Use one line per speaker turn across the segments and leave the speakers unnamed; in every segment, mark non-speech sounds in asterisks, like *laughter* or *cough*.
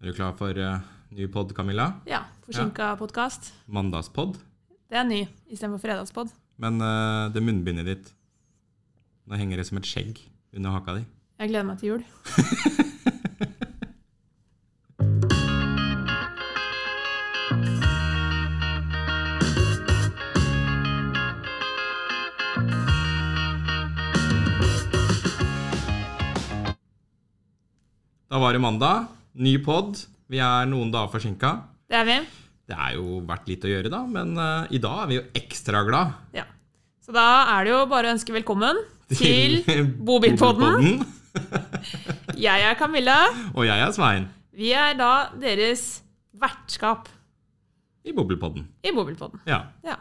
Er du klar for eh, ny pod, Camilla?
Ja. Forsinka podkast.
Mandagspod.
Det er ny istedenfor fredagspod.
Men eh, det munnbindet ditt, nå henger det som et skjegg under haka di.
Jeg gleder meg til jul.
Da var det mandag. Ny pod. Vi er noen dager forsinka.
Det er vi.
Det er jo vært litt å gjøre, da, men eh, i dag er vi jo ekstra glad.
Ja. Så da er det jo bare å ønske velkommen *laughs*
*laughs*
til Bobilpodden.
Bobilpodden.
Jeg er Camilla.
Og jeg er Svein
Vi er da deres vertskap
i Bobilpodden.
i Bobilpodden.
Ja.
Ja.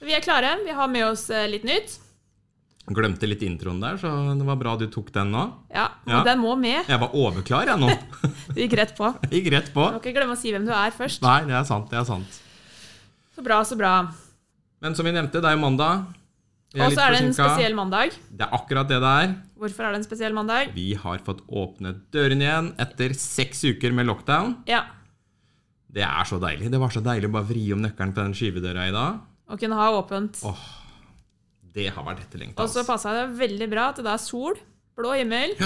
Så vi er klare. Vi har med oss eh, litt nytt.
Glemte litt introen der, så det var bra du tok den nå.
Ja, og
Ja.
den må med.
Jeg var overklar, jeg nå. *laughs*
Du gikk rett på. Du
Gikk rett på.
må ikke glemme å si hvem du er først.
Nei, det er sant, det er sant.
Så bra, så bra.
Men som vi nevnte, det er jo mandag. Vi
Og så er det en
forsinka.
spesiell mandag.
Det er akkurat det det er.
Hvorfor er det en spesiell mandag?
Vi har fått åpnet dørene igjen etter seks uker med lockdown.
Ja.
Det er så deilig. Det var så deilig å bare vri om nøkkelen på den skyvedøra i dag.
Å kunne ha åpent.
Det har vært etterlengta.
Og så
altså.
passa det veldig bra at det er sol, blå himmel.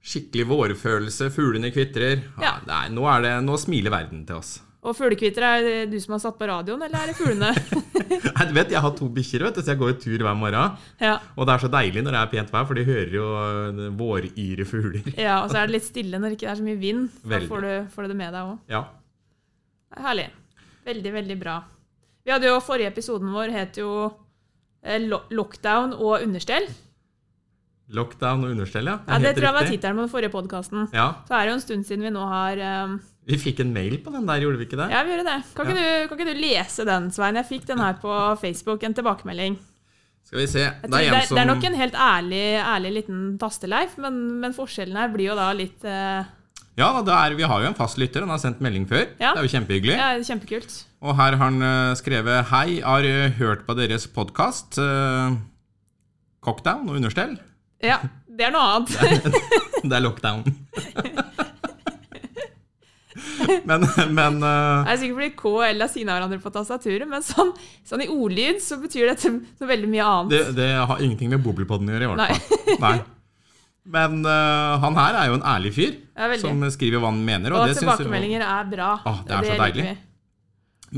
Skikkelig vårfølelse. Fuglene kvitrer. Ja.
Ja.
Nei, nå, er det, nå smiler verden til oss. *laughs*
Og fuglekvitter, er det du som har satt på radioen, eller er det fuglene?
*laughs* Nei, du vet, Jeg har to bikkjer, vet du, så jeg går jo tur hver morgen.
ja.
Og det er så deilig når det er pent vær, for de hører jo eh, våryre fugler.
ja, og så er det litt stille når det ikke er så mye vind. Da
Veldig.
får du, får du det med deg òg.
Ja.
Herlig. Veldig, veldig bra. Vi hadde jo Forrige episoden vår het jo eh, lo- 'Lockdown og understell'.
Lockdown og understell, ja.
Ja, Det
helt
tror jeg var
riktig.
tittelen på den forrige podkasten.
Ja.
Så er det jo en stund siden vi nå har eh,
Vi fikk en mail på den der, gjorde vi ikke det?
Ja, vi gjorde det. Kan ikke, du, kan ikke du lese den, Svein? Jeg fikk den her på Facebook, en tilbakemelding.
Skal vi se.
Jeg
Det
tror
er en
det,
som
det er nok en helt ærlig, ærlig liten tasteleif, men, men forskjellen her blir jo da litt eh,
Ja, det er, vi har jo en fast lytter. Han har sendt melding før.
Ja.
Det er jo kjempehyggelig.
ja, Kjempekult.
Og her har han eh, skrevet Hei, har eh, hørt på deres podkast. Cockdown og understell. *laughs*
Ja, det er noe annet.
Det er lockdown. *laughs* men men eh,
*laughs* Jeg er sikker fordi K og L er siden av hverandre på tastaturet, men sånn, sånn i ordlyd så betyr dette noe veldig mye annet.
det, det har ingenting med boblipodden å gjøre, i
Nei.
hvert fall. Nei. Men eh, han her er jo en ærlig fyr
Ja, veldig.
som skriver hva han mener. Og
Og
det syns jeg-
tilbakemeldinger er bra.
Å, det er så
liker
deilig.
vi.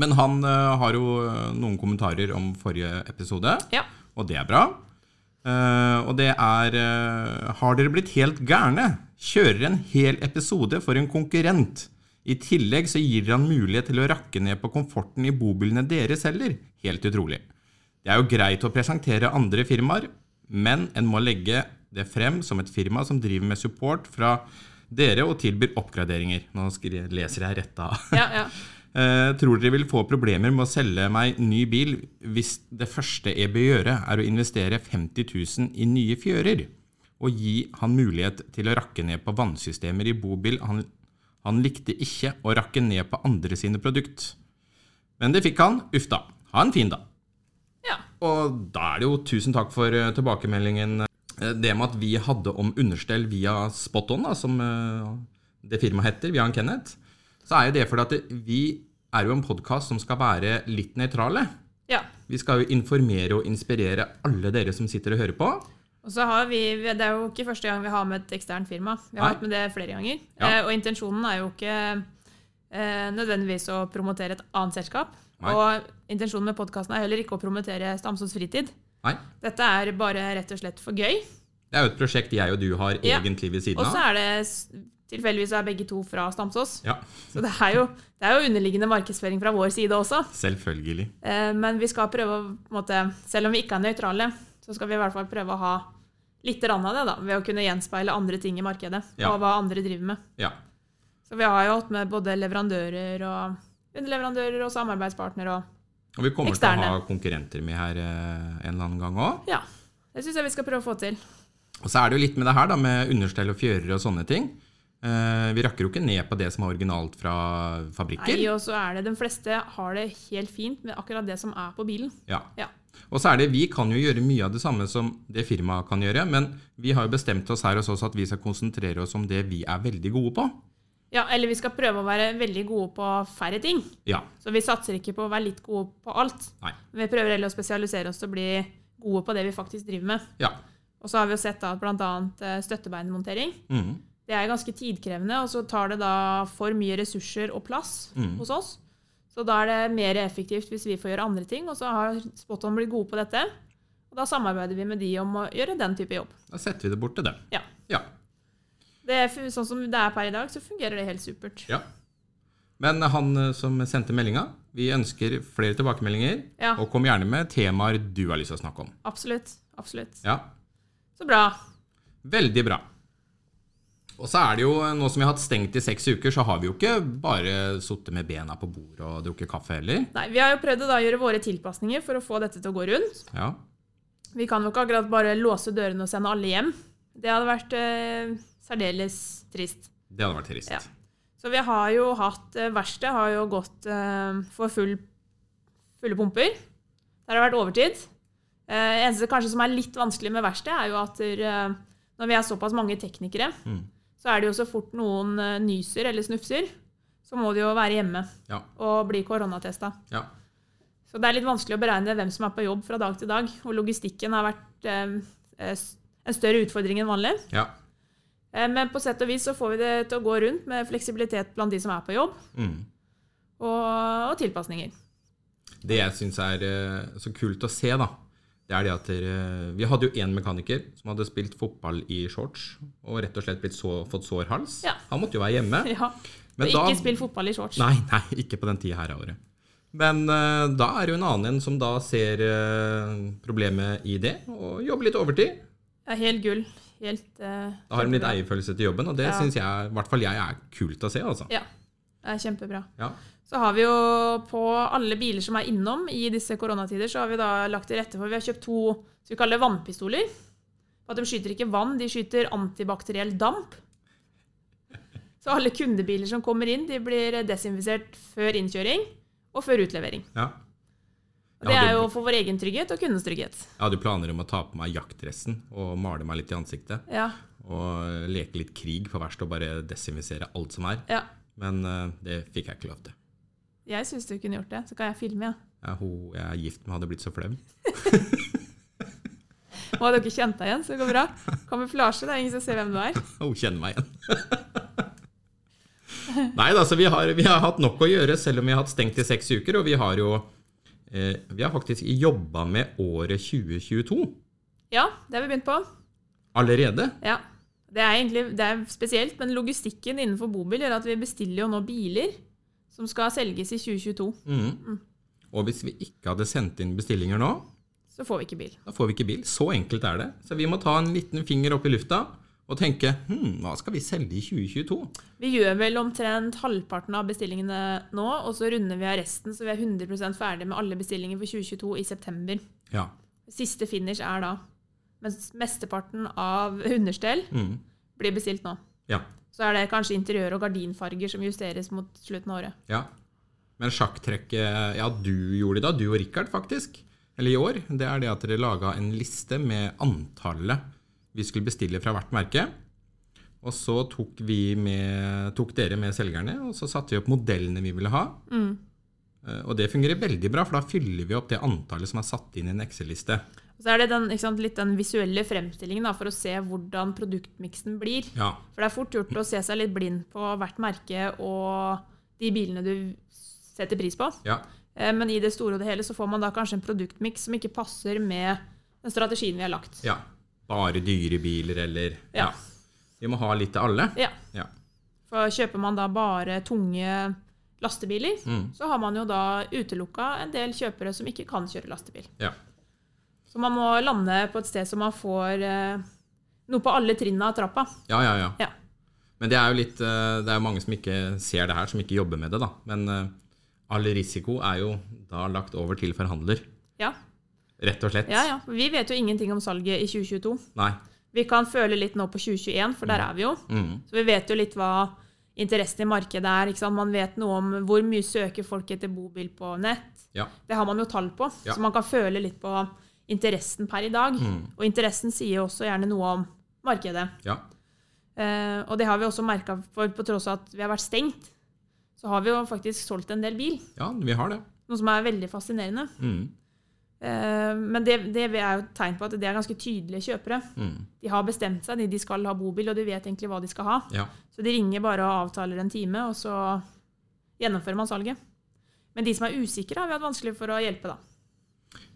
Men han eh, har jo eh, noen kommentarer om forrige episode,
Ja.
og det er bra. Eh, og det er eh, Har dere blitt helt gærne? Kjører en hel episode for en konkurrent. I tillegg så gir dere han mulighet til å rakke ned på komforten i bobilene deres heller. Helt utrolig. Det er jo greit å presentere andre firmaer, men en må legge det frem som et firma som driver med support fra dere og tilbyr oppgraderinger. Nå skri- leser jeg rett av.
Ja, ja.
Eh, tror dere vil få problemer med å selge meg ny bil hvis det første jeg bør gjøre, er å investere 50 000 i nye fjører? Og gi han mulighet til å rakke ned på vannsystemer i bobil han, han likte ikke å rakke ned på andre sine produkt. Men det fikk han. Uff da. Ha en fin dag.
ja.
Og da er det jo tusen takk for eh, tilbakemeldingen. Eh, Det med at vi hadde om understell via Spot On, da, som eh, det firmaet heter, via han Kenneth, så er jo det fordi at det- vi er jo en podkast som skal være litt nøytrale.
ja.
Vi skal jo informere og inspirere alle dere som sitter og hører på.
Og så har vi, Det er jo ikke første gang vi har med et eksternt firma. Vi
Nei.
har hatt med det flere ganger.
Ja.
Eh, og intensjonen er jo ikke eh, nødvendigvis å promotere et annet selskap.
Nei.
Og intensjonen med podkasten er heller ikke å promotere Stamsås fritid.
Nei,
Dette er bare rett og slett for gøy.
det er jo et prosjekt jeg og du har
Ja.
egentlig ved
Og
siden
så
av.
er det s- tilfeldigvis er begge to fra Stamsås.
Ja,
Så det er, jo, det er jo underliggende markedsføring fra vår side også.
selvfølgelig.
Eh, men vi skal prøve å på en måte, Selv om vi ikke er nøytrale, så skal vi i hvert fall prøve å ha litt rann av det, da, ved å kunne gjenspeile andre ting i markedet.
Ja.
Og hva andre driver med.
Ja.
Så vi har jo hatt med både leverandører og underleverandører og samarbeidspartnere og
Og vi kommer til
Eksterne.
å ha konkurrenter med her eh, en eller annen gang òg.
Ja. Det syns jeg vi skal prøve å få til.
Og så er det jo litt med det her, da, med understell og fjører og sånne ting. Eh, vi rakker jo ikke ned på det som er originalt fra fabrikker.
Nei, og så er det De fleste har det helt fint med akkurat det som er på bilen.
ja.
Ja.
Og så er det, Vi kan jo gjøre mye av det samme som det firmaet kan gjøre, men vi har jo bestemt oss her hos oss at vi skal konsentrere oss om det vi er veldig gode på.
Ja, eller vi skal prøve å være veldig gode på færre ting.
Ja.
Så vi satser ikke på å være litt gode på alt.
Nei.
Vi prøver heller å spesialisere oss til å bli gode på det vi faktisk driver med.
Ja.
Og så har vi jo sett da at bl.a. støttebeinmontering
Mhm.
det er ganske tidkrevende, og så tar det da for mye ressurser og plass
Mm.
hos oss. Så da er det mer effektivt hvis vi får gjøre andre ting. Og så har Spoton blitt gode på dette. Og da samarbeider vi med de om å gjøre den type jobb.
Da setter vi det bort til det.
Ja.
Ja.
Det er, fu- sånn som det er per i dag, så fungerer det helt supert.
ja. Men han eh, som sendte meldinga, vi ønsker flere tilbakemeldinger.
Ja.
Og kom gjerne med temaer du har lyst til å snakke om.
Absolutt. Absolutt.
Ja.
Så bra.
Veldig bra. Og så er det jo, nå som vi har hatt stengt i seks uker, så har vi jo ikke bare sittet med bena på bordet og drukket kaffe heller.
Nei, vi har jo prøvd å da gjøre våre tilpasninger for å få dette til å gå rundt.
Ja.
Vi kan jo ikke akkurat bare låse dørene og sende alle hjem. Det hadde vært eh, særdeles trist.
Det hadde vært trist.
Ja. Så vi har jo hatt eh, Verkstedet har jo gått eh, for full, fulle pumper. Der har det vært overtid. Eh, eneste kanskje som er litt vanskelig med verksted, er jo at eh, når vi er såpass mange teknikere,
Mm.
så er det jo så fort noen eh, nyser eller snufser, så må de jo være hjemme
Ja.
og bli koronatesta.
ja.
Så det er litt vanskelig å beregne hvem som er på jobb fra dag til dag. Og logistikken har vært eh, eh, s- en større utfordring enn vanlig.
ja.
Eh, men på sett og vis så får vi det til å gå rundt med fleksibilitet blant de som er på jobb
Mm.
og, og tilpasninger. *laughs*
Det jeg syns er eh, så kult å se, da, det er det at dere Vi hadde jo én mekaniker som hadde spilt fotball i shorts og rett og slett blitt så, fått sår hals.
Ja.
Han måtte jo være
*laughs*
hjemme.
Ja.
Men
og
da-
ikke spill fotball i shorts.
Nei, nei, ikke på den tida her av året. Men eh, da er det jo en annen en som da ser eh, problemet i det, og jobber litt overtid.
Det er helt gull. Helt
Da
eh,
har de litt
kjempebra.
eierfølelse til jobben, og det
Ja.
syns jeg, i hvert fall jeg, er kult å se, altså.
Ja. Det er kjempebra.
Ja.
Så har vi jo på alle biler som er innom i disse koronatider, så har vi da lagt til rette for Vi har kjøpt to skal vi kalle det vannpistoler. At de skyter ikke vann, de skyter antibakteriell damp. Så alle kundebiler som kommer inn, de blir desinfisert før innkjøring og før utlevering.
ja.
Og det
Ja,
er
du-
jo for vår egen trygghet og kundens trygghet.
Jeg hadde jo planer om å ta på meg jaktdressen og male meg litt i ansiktet.
Ja,
Og eh, leke litt krig på verst og bare desinfisere alt som er.
ja.
Men eh, det fikk jeg ikke lov til.
Jeg syns du kunne gjort det. Så kan jeg filme, jeg.
Jeg, hun jeg er gift med, hadde blitt så flau.
Ja. Og hadde dere kjent deg igjen, så det går bra. Kamuflasje, det er ingen som ser hvem du er.
Hun kjenner meg igjen. *laughs* Nei da, så vi har, vi har hatt nok å gjøre, selv om vi har hatt stengt i seks uker. Og vi har jo eh, Vi har faktisk jobba med året 2022
Ja, det har vi begynt på.
allerede.
Ja. Det er egentlig det er spesielt, men logistikken innenfor bobil gjør at vi bestiller jo nå biler som skal selges i 2022.
Mhm. Og hvis vi ikke hadde sendt inn bestillinger nå,
Så får vi ikke bil.
da får vi ikke bil. Så enkelt er det. Så vi må ta en liten finger opp i lufta og tenke hm, hva skal vi selge i 2022?
Vi gjør vel omtrent halvparten av bestillingene nå, og så runder vi av resten, så vi er 100 ferdig med alle bestillinger for 2022 i september.
Ja.
Siste finish er da. Mens mesteparten av understell
Mhm.
blir bestilt nå.
ja.
Så er det kanskje interiør og gardinfarger som justeres mot slutten av året.
Ja. Men sjakktrekket Ja, du gjorde det da, du og Richard, faktisk. Eller i år. Det er det at dere laga en liste med antallet vi skulle bestille fra hvert merke. Og så tok, vi med, tok dere med selgerne, og så satte vi opp modellene vi ville ha. Eh, Og det fungerer veldig bra, for da fyller vi opp det antallet som er satt inn i en Excel-liste.
Og så er det den, ikke sant, litt den visuelle fremstillingen da, for å se hvordan produktmiksen blir.
Ja.
For det er fort gjort å se seg litt blind på hvert merke og de bilene du setter pris på.
ja.
Eh, Men i det store og det hele så får man da kanskje en produktmiks som ikke passer med den strategien vi har lagt.
Ja. Bare dyre biler, eller
Ja.
Vi må ha litt til alle.
Ja,
Ja.
For kjøper man da bare tunge lastebiler, så har man jo da utelukka en del kjøpere som ikke kan kjøre lastebil.
ja.
Så man må lande på et sted så man får eh, noe på alle trinna av trappa.
Ja, ja, ja.
Ja.
Men det er jo litt eh, Det er jo mange som ikke ser det her, som ikke jobber med det, da. Men eh, all risiko er jo da lagt over til forhandler,
Ja,
rett og slett.
ja, ja. Vi vet jo ingenting om salget i 2022.
Nei.
Vi kan føle litt nå på 2021, for der er vi jo.
Mm.
Så vi vet jo litt hva interessen i markedet er. Ikke sant? Man vet noe om hvor mye søker folk etter bobil på nett.
Ja.
Det har man jo tall på,
Ja. Mm.
så man kan føle litt på interessen per i dag. Og interessen sier jo også gjerne noe om markedet.
ja.
Eh, og det har vi også merka, for på tross av at vi har vært stengt, så har vi jo faktisk solgt en del bil.
Ja, vi har det.
Noe som er veldig fascinerende.
Mm.
Eh, men det, det er jo et tegn på at det er ganske tydelige kjøpere.
Mm.
De har bestemt seg, de, de skal ha bobil, og de vet egentlig hva de skal ha.
Ja.
Så de ringer bare og avtaler en time, og så gjennomfører man salget. Men de som er usikre, har vi hatt vanskelig for å hjelpe, da.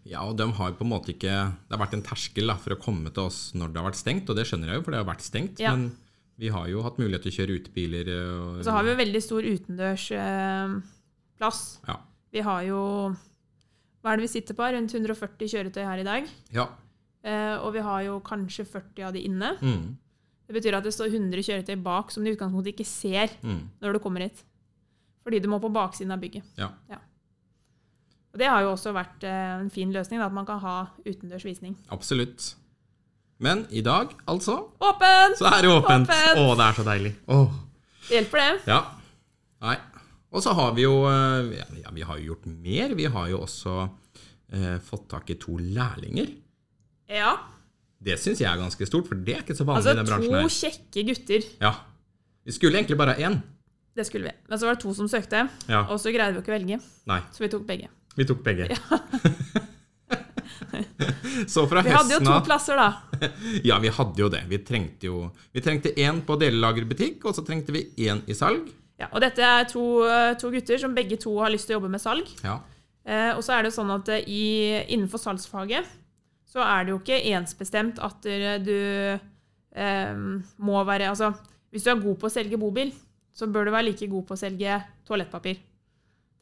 ja, og de har på en måte ikke Det har vært en terskel da, for å komme til oss når det har vært stengt, og det skjønner jeg jo, for det har vært stengt.
Ja.
Men vi har jo hatt mulighet til å kjøre utebiler. Og,
Og så har vi jo veldig stor utendørs eh, plass.
Ja.
Vi har jo Hva er det vi sitter på? Rundt 140 kjøretøy her i dag.
ja.
Eh, og vi har jo kanskje 40 av de inne.
Mm.
Det betyr at det står 100 kjøretøy bak som du i utgangspunktet ikke ser
Mm.
når du kommer hit. Fordi du må på baksiden av bygget.
Ja.
Og det har jo også vært eh, en fin løsning, da, at man kan ha utendørs visning.
Absolutt. Men i dag, altså,
Åpent!
så er det åpent.
Åpent.
Å, det er så deilig. Åh.
Det hjelper, det.
Ja. Nei. Og så har vi jo eh, ja, Vi har jo gjort mer. Vi har jo også eh, fått tak i to lærlinger.
Ja.
Det syns jeg er ganske stort, for det er ikke så vanlig
Altså
i den bransjen
to
her.
kjekke gutter.
Ja. Vi skulle egentlig bare ha én.
Det skulle vi. Men så var det to som søkte,
Ja.
og så greide vi ikke å velge.
Nei,
Så vi tok begge.
vi tok begge. *laughs* så fra
Vi hadde jo
høsten
to
av
plasser, da.
Ja, vi hadde jo det. Vi trengte jo Vi trengte én på delelagerbutikk, og så trengte vi én i salg.
Ja, og dette er to, eh, to gutter som begge to har lyst til å jobbe med salg.
Ja.
Eh, og så er det jo sånn at eh, i, innenfor salgsfaget så er det jo ikke ensbestemt at eh, du eh, må være Altså, hvis du er god på å selge bobil, så bør du være like god på å selge toalettpapir.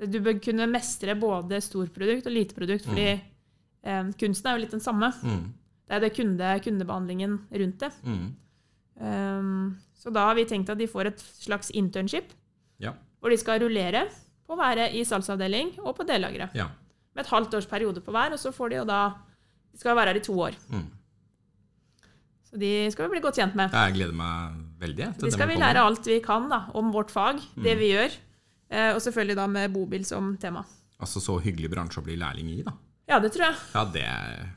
Du bør kunne mestre både storprodukt og lite produkt, fordi eh, kunsten er jo litt den samme.
Mm.
Det er det kunde, kundebehandlingen rundt det.
Mm.
Ehm, så da har vi tenkt at de får et slags internship,
Ja.
hvor de skal rullere på å være i salgsavdeling og på delagere
Ja.
med et halvt års periode på hver, og så får de jo da De skal være her i to år.
Mm.
Så de skal vi bli godt kjent med.
Jeg gleder meg veldig. jeg, til
De
dem
skal vi
kommer.
lære alt vi kan da, om vårt fag, det
Mm.
vi gjør, eh, og selvfølgelig da med bobil som tema.
Altså så hyggelig bransje å bli lærling i, da.
Ja, det tror jeg.
Ja, det er-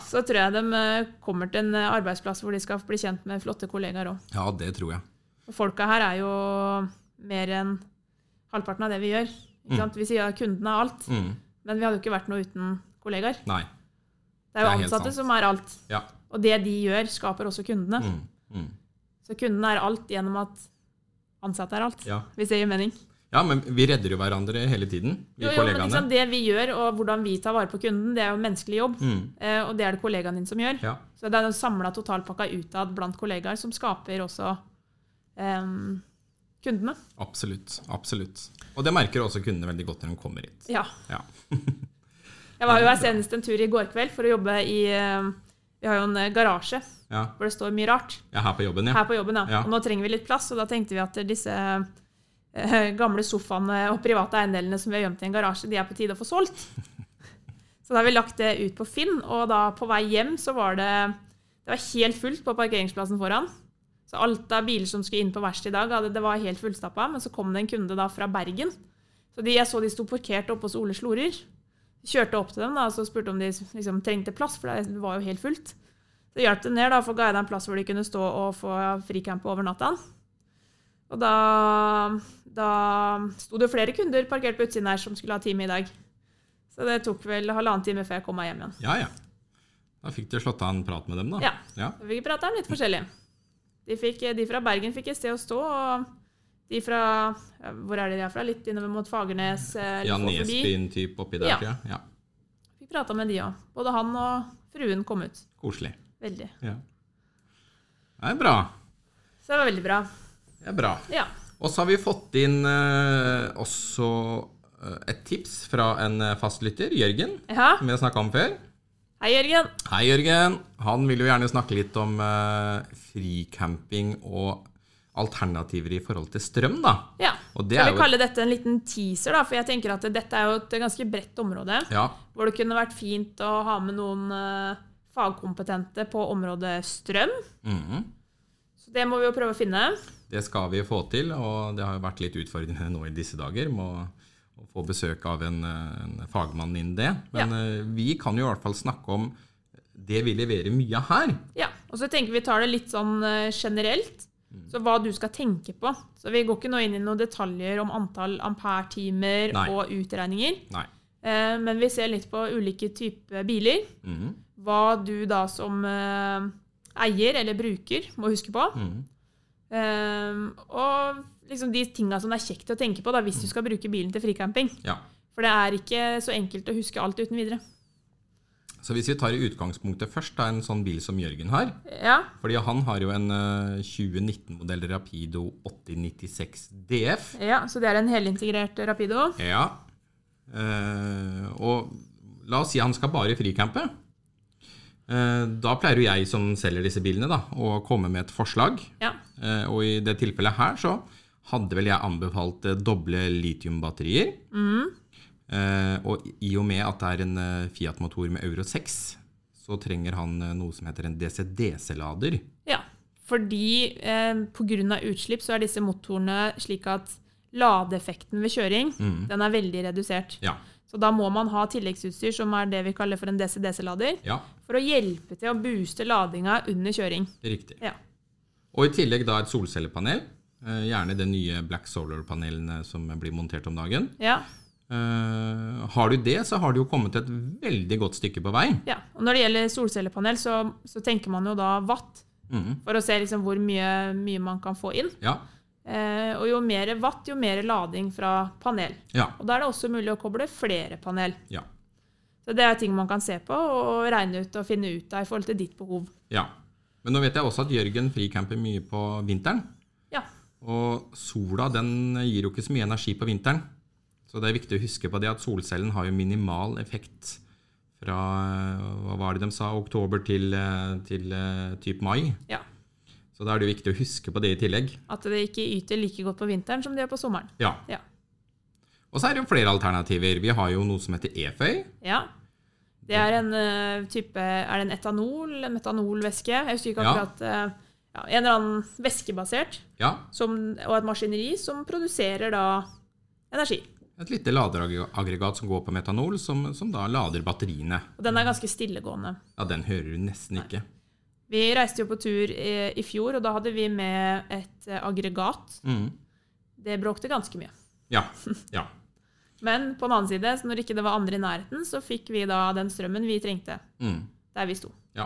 Så tror jeg de eh, kommer til en eh, arbeidsplass hvor de skal bli kjent med flotte kollegaer òg.
ja, det tror jeg.
Og folka her er jo mer enn halvparten av det vi gjør. Ikke sant? Vi sier at kundene er alt,
Mm.
men vi hadde jo ikke vært noe uten kollegaer.
Nei.
Det er
Det er
jo
helt
ansatte
sant.
som er alt.
Ja.
Og det de gjør, skaper også kundene.
Mm. Mm.
Så kunden er alt gjennom at ansatte er alt,
ja.
hvis det gir mening.
Ja, men vi redder jo hverandre hele tiden, vi
Jo, jo, men
kollegaene.
ikke sant, det vi gjør, og hvordan vi tar vare på kunden, det er jo en menneskelig jobb.
Mm.
eh, Og det er det kollegaen din som gjør.
Ja.
Så det er den samla totalpakka utad blant kollegaer som skaper også eh, kundene.
Absolutt. Absolutt. Og det merker også kundene veldig godt når de kommer hit.
Ja.
Ja.
Jeg var jo her senest en tur i går kveld for å jobbe i eh, Vi har jo en eh, garasje
Ja,
hvor det står mye rart.
jeg er her på jobben, ja.
her på jobben. Da.
Ja.
Og nå trenger vi litt plass, og da tenkte vi at disse eh, gamle sofaene *laughs* og private eiendelene som vi har gjemt i en garasje, de er på tide å få solgt.
*laughs*
Så da har vi lagt det ut på Finn, og da på vei hjem så var det det var helt fullt på parkeringsplassen foran. Så alt av biler som skulle inn på verkstedet i dag, hadde, det var helt fullstappa. Men så kom det en kunde da fra Bergen. Så de, jeg så de sto parkert oppe hos Ole Slorer. Kjørte opp til dem da, og så spurte om de liksom, trengte plass, for det var jo helt fullt. Så hjalp det ned, da, for guida en plass hvor de kunne stå og få frikamp over natta. Og da, da sto det flere kunder parkert på utsiden her som skulle ha time i dag. Så det tok vel halvannen time før jeg kom meg hjem igjen.
Ja, ja. Da fikk du slått av en prat med dem, da.
Ja.
ja.
Så Vi prata om litt forskjellig. De, fikk, de fra Bergen fikk et sted å stå, og de fra ja, Hvor er det de er fra? Litt innover mot Fagernes? eh, litt
Jan
forbi.
Nesbyen-type oppi der,
Ja.
tror jeg. Ja.
Fikk prata med de òg. Både han og fruen kom ut.
Koselig.
Veldig.
Ja. Det er bra.
Så det var veldig bra.
Det er bra.
Ja.
Og så har vi fått inn eh, også eh, et tips fra en eh, fastlytter, Jørgen,
ja.
som vi har snakka om før.
Hei, Jørgen.
Hei, Jørgen. Han vil jo gjerne snakke litt om eh, fricamping og alternativer i forhold til strøm, da.
Ja.
Og det er
Skal vi
jo
kalle dette en liten teaser, da? For jeg tenker at dette er jo et ganske bredt område.
Ja.
Hvor det kunne vært fint å ha med noen eh, fagkompetente på området strøm.
mhm.
Så det må vi jo prøve å finne.
Det skal vi få til, og det har jo vært litt utfordrende nå i disse dager med å, å få besøk av en, eh, en fagmann innen det. Men eh, vi kan jo i hvert fall snakke om det vi leverer mye av her.
Ja. Og så tenker vi tar det litt sånn eh, generelt.
Mm.
Så hva du skal tenke på. Så vi går ikke nå inn i noen detaljer om antall ampere-timer
Nei.
og utregninger.
Nei.
Eh, men vi ser litt på ulike typer biler.
Mhm.
Hva du da som eh, eier eller bruker må huske på.
Mhm.
Eh, og liksom de tinga som det er kjekt å tenke på da, hvis du skal bruke bilen til fricamping.
Ja.
For det er ikke så enkelt å huske alt uten videre.
Så hvis vi tar i utgangspunktet først da, en sånn bil som Jørgen har
Ja,
Fordi han har jo en 2019-modell Rapido 8096 DF.
ja Så det er en helintegrert Rapido.
Ja. Eh, og la oss si han skal bare fricampe. Eh, da pleier jo jeg som selger disse bilene, da, å komme med et forslag.
Ja.
Eh, og i det tilfellet her så hadde vel jeg anbefalt eh, doble litiumbatterier. Eh, og i og med at det er en eh, Fiat-motor med Euro 6, så trenger han eh, noe som heter en DCDC-lader.
ja. Fordi eh, pga. utslipp så er disse motorene slik at ladeeffekten ved kjøring den er veldig redusert.
Ja.
Så da må man ha tilleggsutstyr som er det vi kaller for en DCDC-lader,
ja,
for å hjelpe til å booste ladinga under kjøring.
riktig.
Ja.
Og i tillegg da et solcellepanel. eh, Gjerne de nye Black Solar-panelene som blir montert om dagen.
Ja.
Eh, har du det, så har du jo kommet et veldig godt stykke på vei.
ja. Og når det gjelder solcellepanel, så, så tenker man jo da watt,
Mhm.
for å se liksom hvor mye, mye man kan få inn.
Ja,
Eh, og jo mer watt, jo mer lading fra panel.
ja,
Og da er det også mulig å koble flere panel.
ja.
Så det er ting man kan se på og regne ut og finne ut av i forhold til ditt behov.
ja. Men nå vet jeg også at Jørgen fricamper mye på vinteren.
Ja,
Og sola den gir jo ikke så mye energi på vinteren. Så det er viktig å huske på det at solcellen har jo minimal effekt fra eh, hva var det de sa, oktober til, eh, til eh, typ mai.
ja.
Så da er det jo viktig å huske på det i tillegg.
At det ikke yter like godt på vinteren som det gjør på sommeren.
Ja.
Ja.
Og så er det jo flere alternativer. Vi har jo noe som heter EFØY.
ja. Det er en eh, type Er det en etanol? En metanolvæske? Jeg husker ikke
Ja.
akkurat eh, ja, En eller annen væskebasert
Ja,
som, og et maskineri som produserer da energi.
et lite laderaggregat som går på metanol, som, som da lader batteriene.
Og den er ganske stillegående.
Ja, den hører du nesten ikke.
Vi reiste jo på tur i, i fjor, og da hadde vi med et eh, aggregat.
Mm.
Det bråkte ganske mye.
Ja, ja.
Men på den annen side, så når ikke det var andre i nærheten, så fikk vi da den strømmen vi trengte
Mm.
der vi sto.
Ja.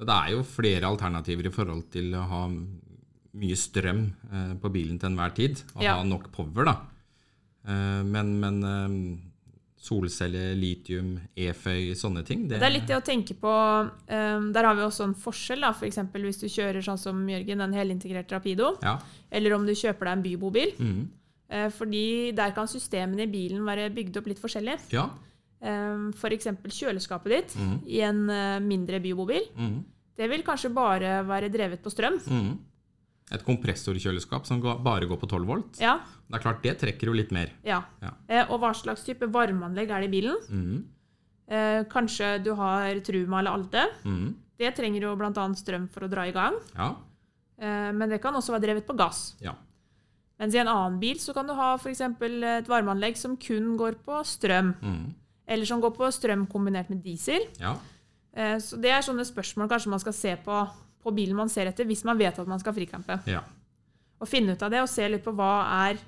Og Det er jo flere alternativer i forhold til å ha mye strøm eh, på bilen til enhver tid, og
Ja.
ha nok power, da. Eh, men men eh, solceller, litium, eføy, sånne ting det,
Det er litt det å tenke på ehm, Der har vi også en forskjell, da. F.eks. hvis du kjører sånn som Jørgen, en helintegrert Rapido,
Ja.
eller om du kjøper deg en bybobil.
Mhm.
Eh, fordi der kan systemene i bilen være bygd opp litt forskjellig.
ja.
Um, F.eks. kjøleskapet ditt i en eh, mindre bybobil.
Mhm.
Det vil kanskje bare være drevet på strøm.
Mhm. Et kompressorkjøleskap som går, bare går på 12 volt.
Ja.
Det er klart, det trekker jo litt mer.
ja.
Ja.
Eh, og hva slags type varmeanlegg er det i bilen?
Mhm.
Eh, kanskje du har Truma eller Alte.
Mhm.
Det trenger jo bl.a. strøm for å dra i gang,
Ja.
eh, men det kan også være drevet på gass.
ja.
Mens i en annen bil så kan du ha f.eks. et varmeanlegg som kun går på strøm,
Mhm.
eller som går på strøm kombinert med diesel.
ja.
Eh, Så det er sånne spørsmål kanskje man skal se på på bilen man ser etter, hvis man vet at man skal fricampe.
Ja.
Og finne ut av det og se litt på hva er,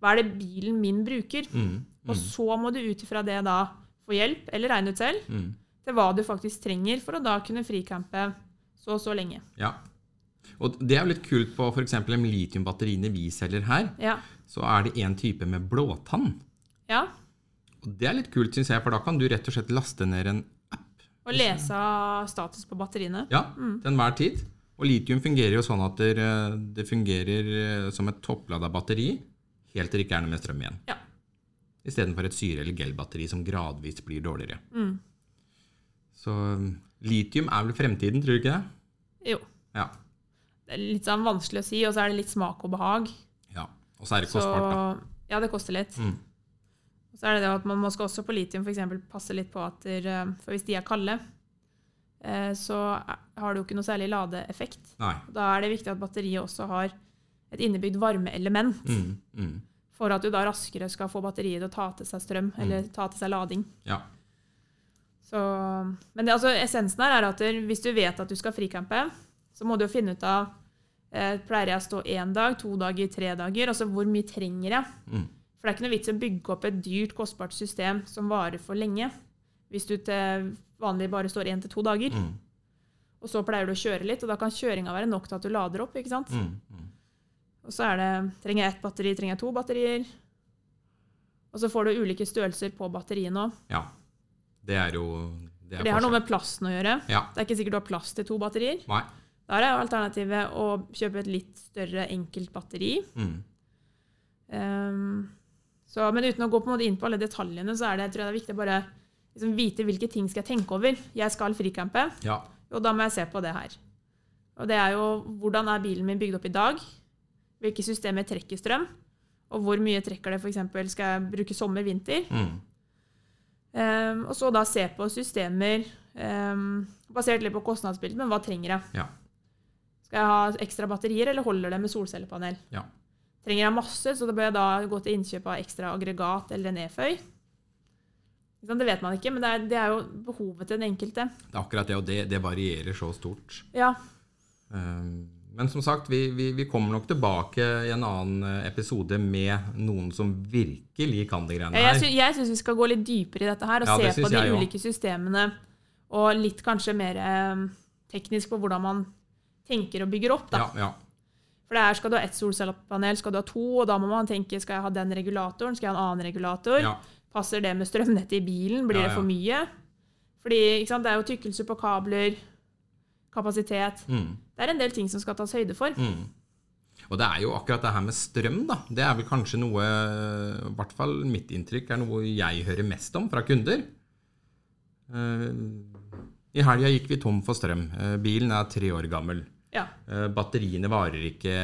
hva er det bilen min bruker.
Mhm.
Og så må du ut ifra det da få hjelp, eller regne ut selv,
Mhm.
til hva du faktisk trenger for å da kunne fricampe så og så lenge.
Ja. Og det er jo litt kult på f.eks. de litiumbatteriene vi selger her,
Ja.
så er det en type med blåtann.
ja.
Og det er litt kult, syns jeg, for da kan du rett og slett laste ned en
Og lese av status på batteriene.
ja, til enhver tid. Og litium fungerer jo sånn at det, det fungerer eh, som et topplada batteri helt til det ikke er noe mer strøm igjen.
Ja.
Istedenfor et syre- eller gelbatteri som gradvis blir dårligere.
Mm.
Så eh, litium er vel fremtiden, tror du ikke det?
Jo.
Ja.
Det er litt sånn vanskelig å si, og så er det litt smak og behag.
ja. Og så er det
Så
kostbart, da.
ja, det koster litt.
Mm.
Og så er det det at man må skal også på litium for eksempel passe litt på at der, eh, For hvis de er kalde, eh, så er- har det jo ikke noe særlig ladeeffekt.
Nei.
Da er det viktig at batteriet også har et innebygd varmeelement,
Mm, mm.
for at du da raskere skal få batteriet til å ta til seg strøm,
Mm.
eller ta til seg lading.
Ja.
Så, men det, altså, essensen her er at der, hvis du vet at du skal fricampe, så må du jo finne ut av Eh, pleier jeg å stå én dag, to dager, tre dager? Altså hvor mye trenger jeg?
Mm.
For det er ikke noe vits i å bygge opp et dyrt, kostbart system som varer for lenge, hvis du til vanlig bare står én til to dager.
Mm.
Og så pleier du å kjøre litt, og da kan kjøringa være nok til at du lader opp. ikke sant?
Mm. Mm.
Og så er det Trenger jeg ett batteri? Trenger jeg to batterier? Og så får du ulike størrelser på batteriene òg.
Ja. Det er jo Det er
Det har noe
forskjell.
med plassen å gjøre.
Ja.
Det er ikke sikkert du har plass til to batterier.
Nei.
Da er jo alternativet å kjøpe et litt større enkelt batteri.
Mm.
Ehm, så, men uten å gå på en måte inn på alle detaljene, så er det, jeg tror jeg det er viktig å bare liksom vite hvilke ting skal jeg tenke over. Jeg skal fricampe,
Ja.
og da må jeg se på det her. Og det er jo hvordan er bilen min bygd opp i dag? Hvilke systemer trekker strøm? Og hvor mye trekker det f.eks.? Skal jeg bruke sommer, vinter?
Mm.
Ehm, og så da se på systemer ehm, basert litt på kostnadsbildet, men hva trenger jeg?
Ja.
Skal jeg ha ekstra batterier, eller holder det med solcellepanel?
Ja.
Trenger jeg masse, så da bør jeg da gå til innkjøp av ekstra aggregat eller en e-føy. Ikke sant, Det vet man ikke, men det er, det er jo behovet til den enkelte.
Det er akkurat det, og det, det varierer så stort.
Ja,
Um, Men som sagt, vi, vi, vi kommer nok tilbake i en annen eh, episode med noen som virkelig kan de greiene
Jeg,
her.
sy jeg syns vi skal gå litt dypere i dette her og
Ja, det
se på
synes
de
jeg jo.
ulike systemene. Og litt kanskje mer eh, teknisk på hvordan man tenker og bygger opp. Da.
Ja, ja.
For det er, Skal du ha ett solcellepanel, skal du ha to, og da må man tenke skal jeg ha den regulatoren, skal jeg ha en annen regulator?
Ja.
Passer det med strømnettet i bilen? Blir
Ja,
det for mye? Fordi ikke sant, det er jo tykkelse på kabler, kapasitet
Mm,
Det er en del ting som skal tas høyde for.
mm. Og det er jo akkurat det her med strøm, da. Det er vel kanskje noe I hvert fall mitt inntrykk er noe jeg hører mest om fra kunder. Eh, I helga gikk vi tom for strøm. Eh, Bilen er tre år gammel.
Ja.
Eh, Batteriene varer ikke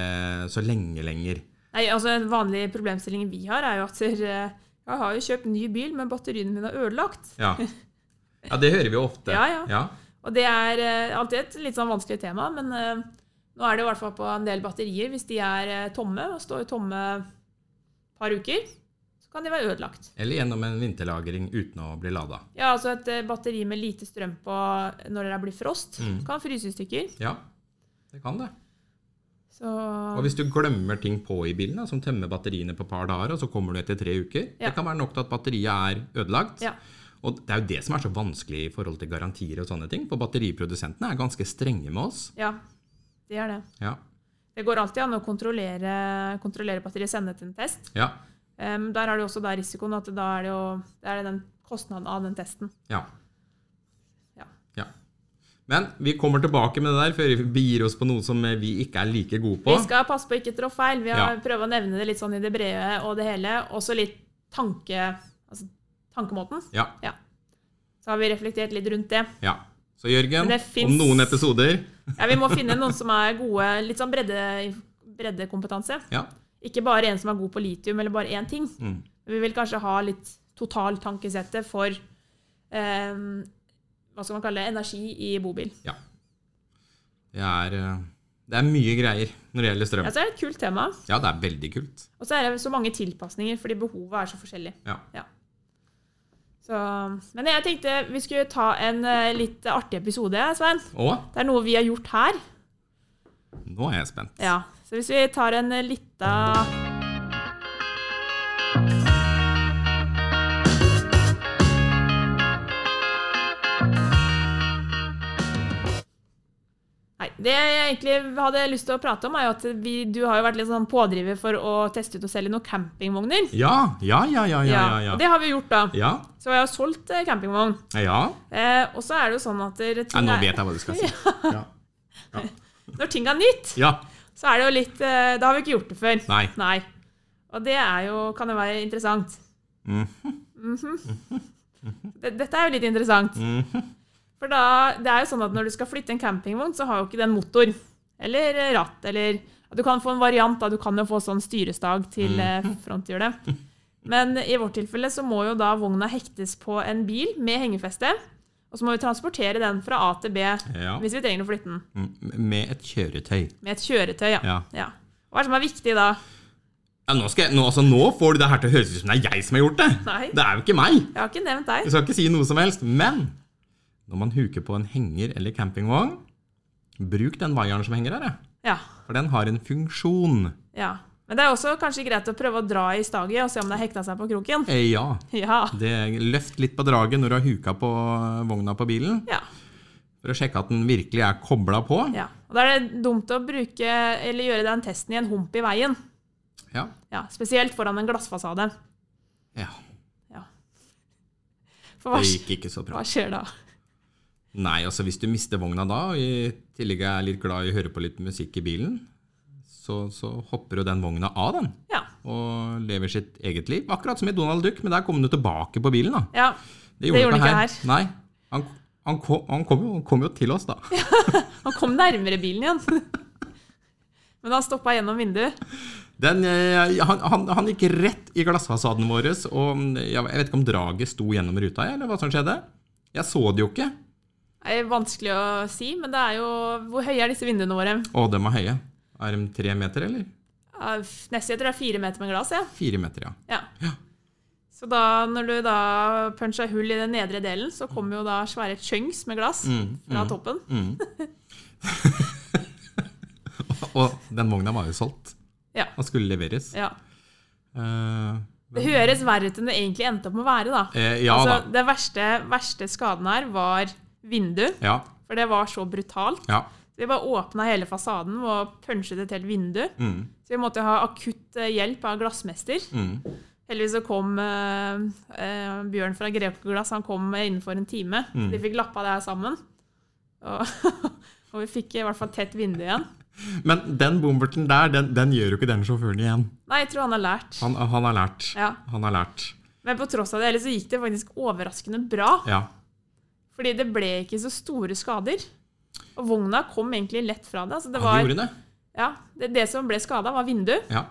så lenge lenger.
Nei, altså En vanlig problemstilling vi har, er jo at eh, jeg har jo kjøpt ny bil, men batteriene mine er ødelagt. *laughs*
Ja, ja det hører vi jo ofte.
Ja, ja.
ja.
Og det er eh, alltid et litt sånn vanskelig tema, men eh, nå er det i hvert fall på en del batterier. Hvis de er eh, tomme og står tomme et par uker, så kan de være ødelagt.
Eller gjennom en vinterlagring uten å bli lada.
Ja, altså Et eh, batteri med lite strøm på når det blir frost,
Mm.
kan fryse i stykker.
Ja, det kan det.
Så
Og hvis du glemmer ting på i bilen, da, som tømmer batteriene på et par dager, og så kommer du etter tre uker,
Ja.
det kan være nok til at batteriet er ødelagt.
Ja.
Og det er jo det som er så vanskelig i forhold til garantier og sånne ting, for batteriprodusentene er ganske strenge med oss.
Ja, det er det.
Ja,
Det går alltid an å kontrollere, kontrollere batteriet, sende til en test.
ja,
Em, der er det jo også da risikoen at da er det jo det er den kostnaden av den testen.
ja.
Ja.
ja. Men vi kommer tilbake med det der før vi begir oss på noe som vi ikke er like gode på.
Vi skal passe på ikke trå feil. Vi har
Ja.
prøvd å nevne det litt sånn i det brede og det hele. Også litt tanke, altså, tankemåten.
Ja,
Så har vi reflektert litt rundt det.
ja. Så Jørgen,
Men det
om
finnes-
noen episoder
Ja, vi må finne noen som er gode, litt sånn bredde, breddekompetanse.
Ja.
Ikke bare en som er god på litium eller bare én ting.
Mm.
Vi vil kanskje ha litt totaltankesettet for em, hva skal man kalle det, energi i bobil.
Ja. Det er, eh, det er mye greier når det gjelder strøm.
Ja, så er Altså, det et kult tema.
Ja, det er veldig kult.
Og så er det så mange tilpasninger, fordi behovet er så forskjellig.
Ja.
Så, men jeg tenkte vi skulle ta en eh, litt artig episode, Svein.
Og
Det er noe vi har gjort her.
nå er jeg spent.
Ja. Så hvis vi tar en eh, lita Nei, Det jeg egentlig hadde lyst til å prate om, er jo at vi, du har jo vært litt sånn pådriver for å teste ut og selge noen campingvogner.
Ja, ja, ja, ja, ja.
Ja,
Ja,
og
ja.
Det har vi gjort, da.
ja.
Så jeg har solgt eh, campingvogn.
ja.
Eh, og så er det jo sånn at dere-
ja
ting
nå
er-
vet jeg hva du
*laughs*
skal si. Ja.
når ting er nytt,
ja.
så er det jo litt eh, Da har vi ikke gjort det før.
Nei.
Og det er jo, kan jo være interessant.
Mhm.
Mhm. Det- Dette er jo litt interessant.
Mm-hmm.
For da, det er jo sånn at når du skal flytte en campingvogn, så har jo ikke den motor. Eller eh, ratt, eller Du kan få en variant, da. Du kan jo få sånn styrestag til eh,
Mm-hmm.
fronthjulet. Men i vårt tilfelle så må jo da vogna hektes på en bil med hengefeste. Og så må vi transportere den fra A til B
Ja.
hvis vi trenger å flytte den.
Mm, Med et kjøretøy.
Med et kjøretøy, ja.
Ja.
ja. Hva er det som er viktig da?
Ja, nå, skal jeg, nå, altså, nå får du det her til å høres ut som det er jeg som har gjort det.
Nei.
Det er jo ikke meg.
Jeg har ikke nevnt
Jeg
deg.
skal ikke si noe som helst. Men når man huker på en henger eller campingvogn, bruk den vaieren som henger her. jeg.
Ja.
For den har en funksjon.
ja. Men det er også kanskje greit å prøve å dra i staget og se om det har hekta seg på kroken. *laughs*
Eh, ja.
Ja.
Det Løft litt på draget når du har huka på vogna på bilen,
ja.
for å sjekke at den virkelig er kobla på.
ja. Og da er det dumt å bruke, eller gjøre den testen i en hump i veien.
Ja.
Ja, Spesielt foran en glassfasade.
ja.
Ja. For hva,
Det gikk ikke så bra.
hva skjer da?
Nei, altså hvis du mister vogna da, og i tillegg er litt glad i å høre på litt musikk i bilen, så, så hopper jo den vogna av den,
Ja.
og lever sitt eget liv. Akkurat som i Donald Duck, men der kom den jo tilbake på bilen, da.
ja. Det gjorde den ikke her.
Nei, han, han, kom, han, kom jo, han kom jo til oss, da.
Han kom nærmere bilen igjen. *laughs* Men han stoppa gjennom vinduet.
Den, eh, han, han, han gikk rett i glassfasaden vår, og mm, jeg vet ikke om draget sto gjennom ruta, jeg, eller hva som skjedde. Jeg så det jo ikke.
Det er vanskelig å si, men det er jo Hvor høye er disse vinduene våre?
Å, de er høye. Er de tre meter, eller?
Ja, f- Nesten jeg tror det er fire meter med glass, ja.
Fire meter, ja.
ja.
Ja.
Så da, når du da puncha hull i den nedre delen, så kommer jo da svære chunks med glass
Mm,
fra toppen.
Og den vogna var jo solgt.
Ja.
Og skulle leveres.
ja.
Eh,
Det høres verre ut enn det egentlig endte opp med å være, da.
eh, ja
altså, det verste, verste skaden her var vindu,
da. Ja.
for det var så brutalt.
ja.
Vi bare åpna hele fasaden og punchet et helt vindu.
Mm,
Så vi måtte ha akutt eh, hjelp av glassmester.
mm.
Heldigvis så kom eh, eh, Bjørn fra Grepeglass han kom innenfor en time.
Mm.
Så de fikk lappa det her sammen. Og, *laughs* og vi fikk i hvert fall tett vindu igjen.
Men den bomberten der, den, den gjør jo ikke den sjåføren igjen.
Nei, jeg tror han har lært.
Han, han har lært.
Ja.
Han har lært.
Men på tross av det hele så gikk det faktisk overraskende bra.
Ja.
Fordi det ble ikke så store skader. Og vogna kom egentlig lett fra det. Altså det,
Han
var,
gjorde det.
ja, det, det som ble skada, var vindu.
Ja.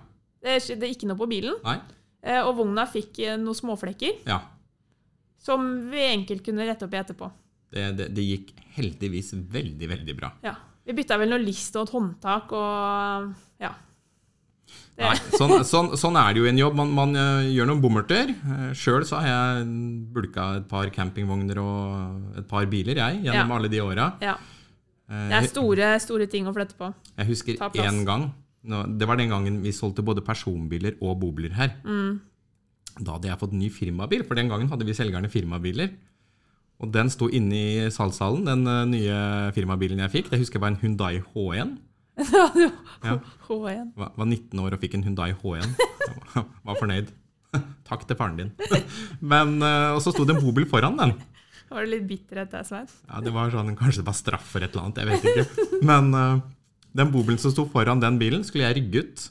Det skjedde ikke noe på bilen.
Nei.
Eh, Og vogna fikk eh, noen småflekker
Ja.
som vi enkelt kunne rette opp i etterpå.
Det, det, det gikk heldigvis veldig, veldig bra.
Ja. Vi bytta vel noe list og et håndtak og Ja. Det-
Nei, sånn, sånn, sånn er det jo i en jobb. Man, man eh, gjør noen bommerter. Eh, Sjøl så har jeg bulka et par campingvogner og et par biler, jeg, gjennom
Ja.
alle de åra.
ja.
Eh,
Det er store, store ting å flytte på.
Jeg husker
Ta plass.
én gang nå- Det var den gangen vi solgte både personbiler og bobiler her.
Mm.
Da hadde jeg fått ny firmabil, for den gangen hadde vi selgerne firmabiler. Og den sto inne i salgssalen, den eh, nye firmabilen jeg fikk. Det husker jeg var en Hundai H1. Ja.
H1.
Var var 19 år og fikk en Hundai
*laughs*
H1. Jeg Var fornøyd. *laughs* Takk til faren din. *laughs* Men, eh, Og så sto det en bobil foran den.
Var det litt bitterhet der, Svein?
Ja, det var sånn, Kanskje det var straff for et eller annet, jeg vet ikke. Men eh, den bobilen som sto foran den bilen, skulle jeg rygge ut.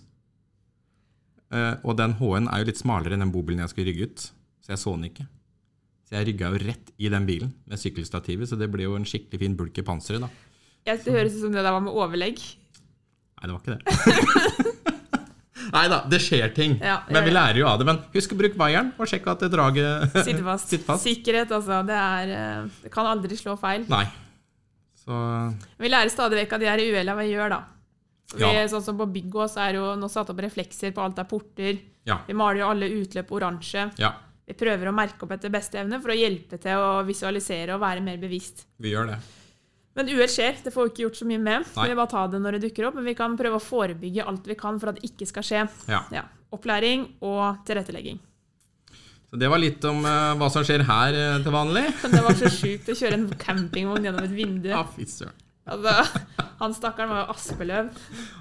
Eh, og den H-en er jo litt smalere enn den bobilen jeg skulle rygge ut, så jeg så den ikke. Så jeg rygga jo rett i den bilen med sykkelstativet, så det ble jo en skikkelig fin bulk i panseret, da.
Jeg, det høres ut som det der var med overlegg.
Nei, det var ikke det. *laughs* Nei da, det skjer ting.
Ja, ja,
men vi
ja.
lærer jo av det. Men husk å bruke vaieren, og sjekk at det draget *laughs*
Sitte fast.
Sitt fast.
Sikkerhet, altså. Det, er, eh, det kan aldri slå feil.
Nei. Så
Vi lærer stadig vekk av de her uhella vi gjør, da. Vi,
Ja.
Sånn som på bygget også er jo nå satt opp reflekser på alt av porter.
ja.
Vi maler jo alle utløp oransje.
Ja,
Vi prøver å merke opp etter beste evne for å hjelpe til å visualisere og være mer bevisst.
vi gjør det.
Men uhell skjer, det får vi ikke gjort så mye med.
Nei.
Vi bare ta det når det dukker opp, men vi kan prøve å forebygge alt vi kan for at det ikke skal skje.
Ja.
Ja. Opplæring og tilrettelegging. *laughs*
Så det var litt om eh, hva som skjer her eh, til vanlig.
Men det var så sjukt å kjøre en campingvogn gjennom et vindu.
Ja, fy søren.
Altså, han stakkaren var jo aspeløv.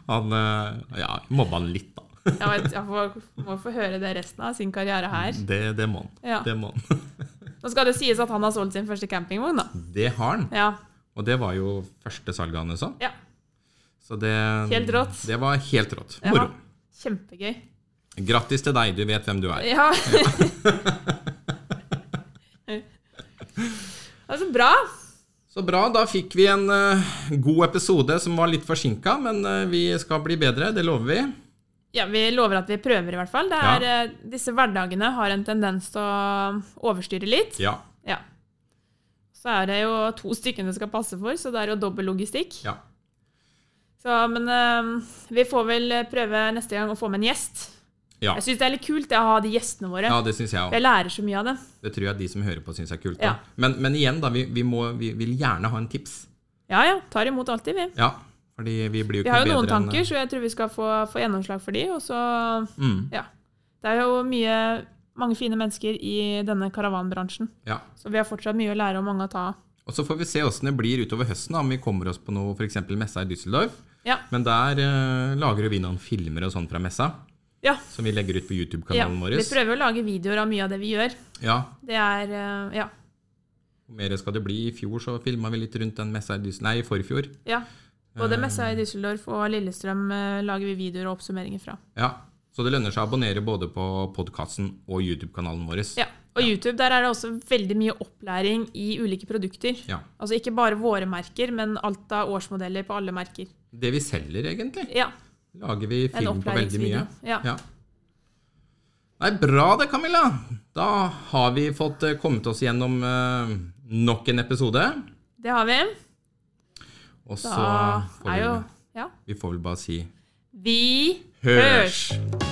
Han eh, ja, mobba han litt, da. *laughs*
Jeg, vet, jeg får, må få høre det resten av sin karriere her.
Det, det må han.
Ja.
Det må han. *laughs*
Nå skal det sies at han har solgt sin første campingvogn, da.
Det har han.
Ja.
Og det var jo første salget hans òg.
ja.
Så det
Helt rått.
Det var helt rått.
Ja.
Moro.
Kjempegøy.
Grattis til deg, du vet hvem du er.
Ja. *laughs* altså, bra.
Så bra, da fikk vi en eh, god episode som var litt forsinka, men eh, vi skal bli bedre, det lover vi.
Ja, Vi lover at vi prøver, i hvert fall. Det er, eh, Disse hverdagene har en tendens til å overstyre litt.
Ja.
Ja. Så er det jo to stykker det skal passe for, så det er jo dobbel logistikk.
ja.
Så, men eh, vi får vel prøve neste gang å få med en gjest.
Ja,
Jeg syns det er litt kult det, å ha de gjestene våre.
ja det syns jeg òg.
Jeg lærer så mye av det.
Det tror jeg de som hører på, syns er kult.
Ja.
da. Men, men igjen, da. Vi, vi, må, vi vil gjerne ha en tips.
Ja ja, tar imot alltid, vi.
Ja, for Fordi vi blir jo
Vi
ikke
har jo
bedre
noen tanker,
enn eh,
så jeg tror vi skal få, få gjennomslag for de. Og så,
Mm,
ja. Det er jo mye, mange fine mennesker i denne karavanbransjen.
ja.
Så vi har fortsatt mye å lære og mange å ta av.
Og så får vi se åssen det blir utover høsten, da, om vi kommer oss på noe f.eks. messa i Düsseldorf.
Ja.
Men der eh, lager jo vi noen filmer og sånn fra messa,
Ja.
som vi legger ut på
ja.
YouTube-kanalen
Vi
vår.
prøver å lage videoer av mye av det vi gjør.
Ja,
Det er eh, Ja.
hvor mer skal det bli? I fjor så filma vi litt rundt den messa i Düsseldorf Nei, i forfjor.
ja.
Eh.
Både messa i Düsseldorf og Lillestrøm eh, lager vi videoer og oppsummeringer fra.
Ja. Så det lønner seg å abonnere både på podkasten og YouTube-kanalen vår.
Ja. Og YouTube, der er det også veldig mye opplæring i ulike produkter.
Ja.
Altså ikke bare våre merker, men alt av årsmodeller på alle merker.
Det vi selger, egentlig.
Ja.
Lager vi
En
film på veldig mye.
opplæringsvideo. Ja.
Ja. Nei, bra det, Camilla. Da har vi fått eh, kommet oss gjennom eh, nok en episode.
Det har vi.
Og så
Da
får
er
vi,
jo Ja.
vi får vel bare si
Vi
hørs!
hørs!